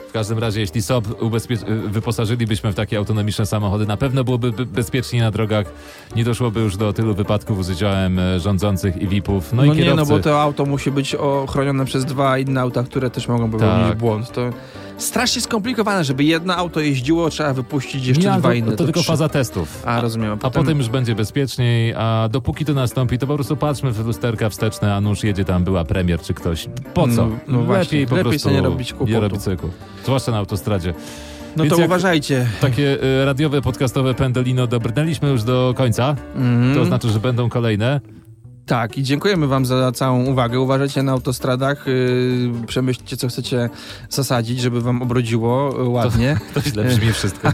Speaker 1: W każdym razie, jeśli SOP ubezpie- y, wyposażylibyśmy w takie autonomiczne samochody, na pewno byłoby be- bezpieczniej na drogach. Nie doszłoby już do tylu wypadków z udziałem e, rządzących i VIP-ów. No,
Speaker 2: No,
Speaker 1: i
Speaker 2: nie,
Speaker 1: kierowcy.
Speaker 2: no bo to auto musi być ochronione przez dwa inne auta, które też mogą popełnić
Speaker 1: Tak.
Speaker 2: błąd. To strasznie skomplikowane, żeby jedno auto jeździło, trzeba wypuścić jeszcze
Speaker 1: nie,
Speaker 2: dwa
Speaker 1: to,
Speaker 2: inne.
Speaker 1: to, tylko
Speaker 2: trzy.
Speaker 1: faza testów.
Speaker 2: A, rozumiem.
Speaker 1: A potem już będzie bezpieczniej, a dopóki to nastąpi, to po prostu patrzmy w lusterka wsteczne, a nuż jedzie tam była premier czy ktoś. Po co?
Speaker 2: No, no właśnie.
Speaker 1: Lepiej po
Speaker 2: Lepiej
Speaker 1: prostu
Speaker 2: sobie nie robić
Speaker 1: nie
Speaker 2: kłopotu.
Speaker 1: robić cyklu. Zwłaszcza na autostradzie.
Speaker 2: No
Speaker 1: Więc
Speaker 2: to
Speaker 1: jak-
Speaker 2: uważajcie.
Speaker 1: Takie y, radiowe, podcastowe pendolino dobrnęliśmy już do końca.
Speaker 2: Mhm.
Speaker 1: To znaczy, że będą kolejne.
Speaker 2: Tak, i dziękujemy Wam za całą uwagę. Uważajcie na autostradach, yy, przemyślcie, co chcecie zasadzić, żeby Wam obrodziło yy, ładnie.
Speaker 1: To źle brzmi wszystko.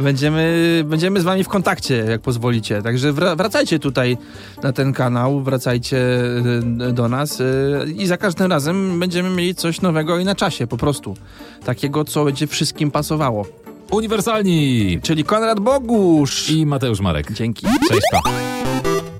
Speaker 2: Będziemy, będziemy z wami w kontakcie, jak pozwolicie. Także wra- wracajcie tutaj na ten kanał, wracajcie e, do nas e, i za każdym razem będziemy mieli coś nowego i na czasie po prostu. Takiego, co będzie wszystkim pasowało.
Speaker 1: Uniwersalni
Speaker 2: Czyli Konrad Bogusz!
Speaker 1: i Mateusz Marek.
Speaker 2: Dzięki.
Speaker 1: Cześć. Pa.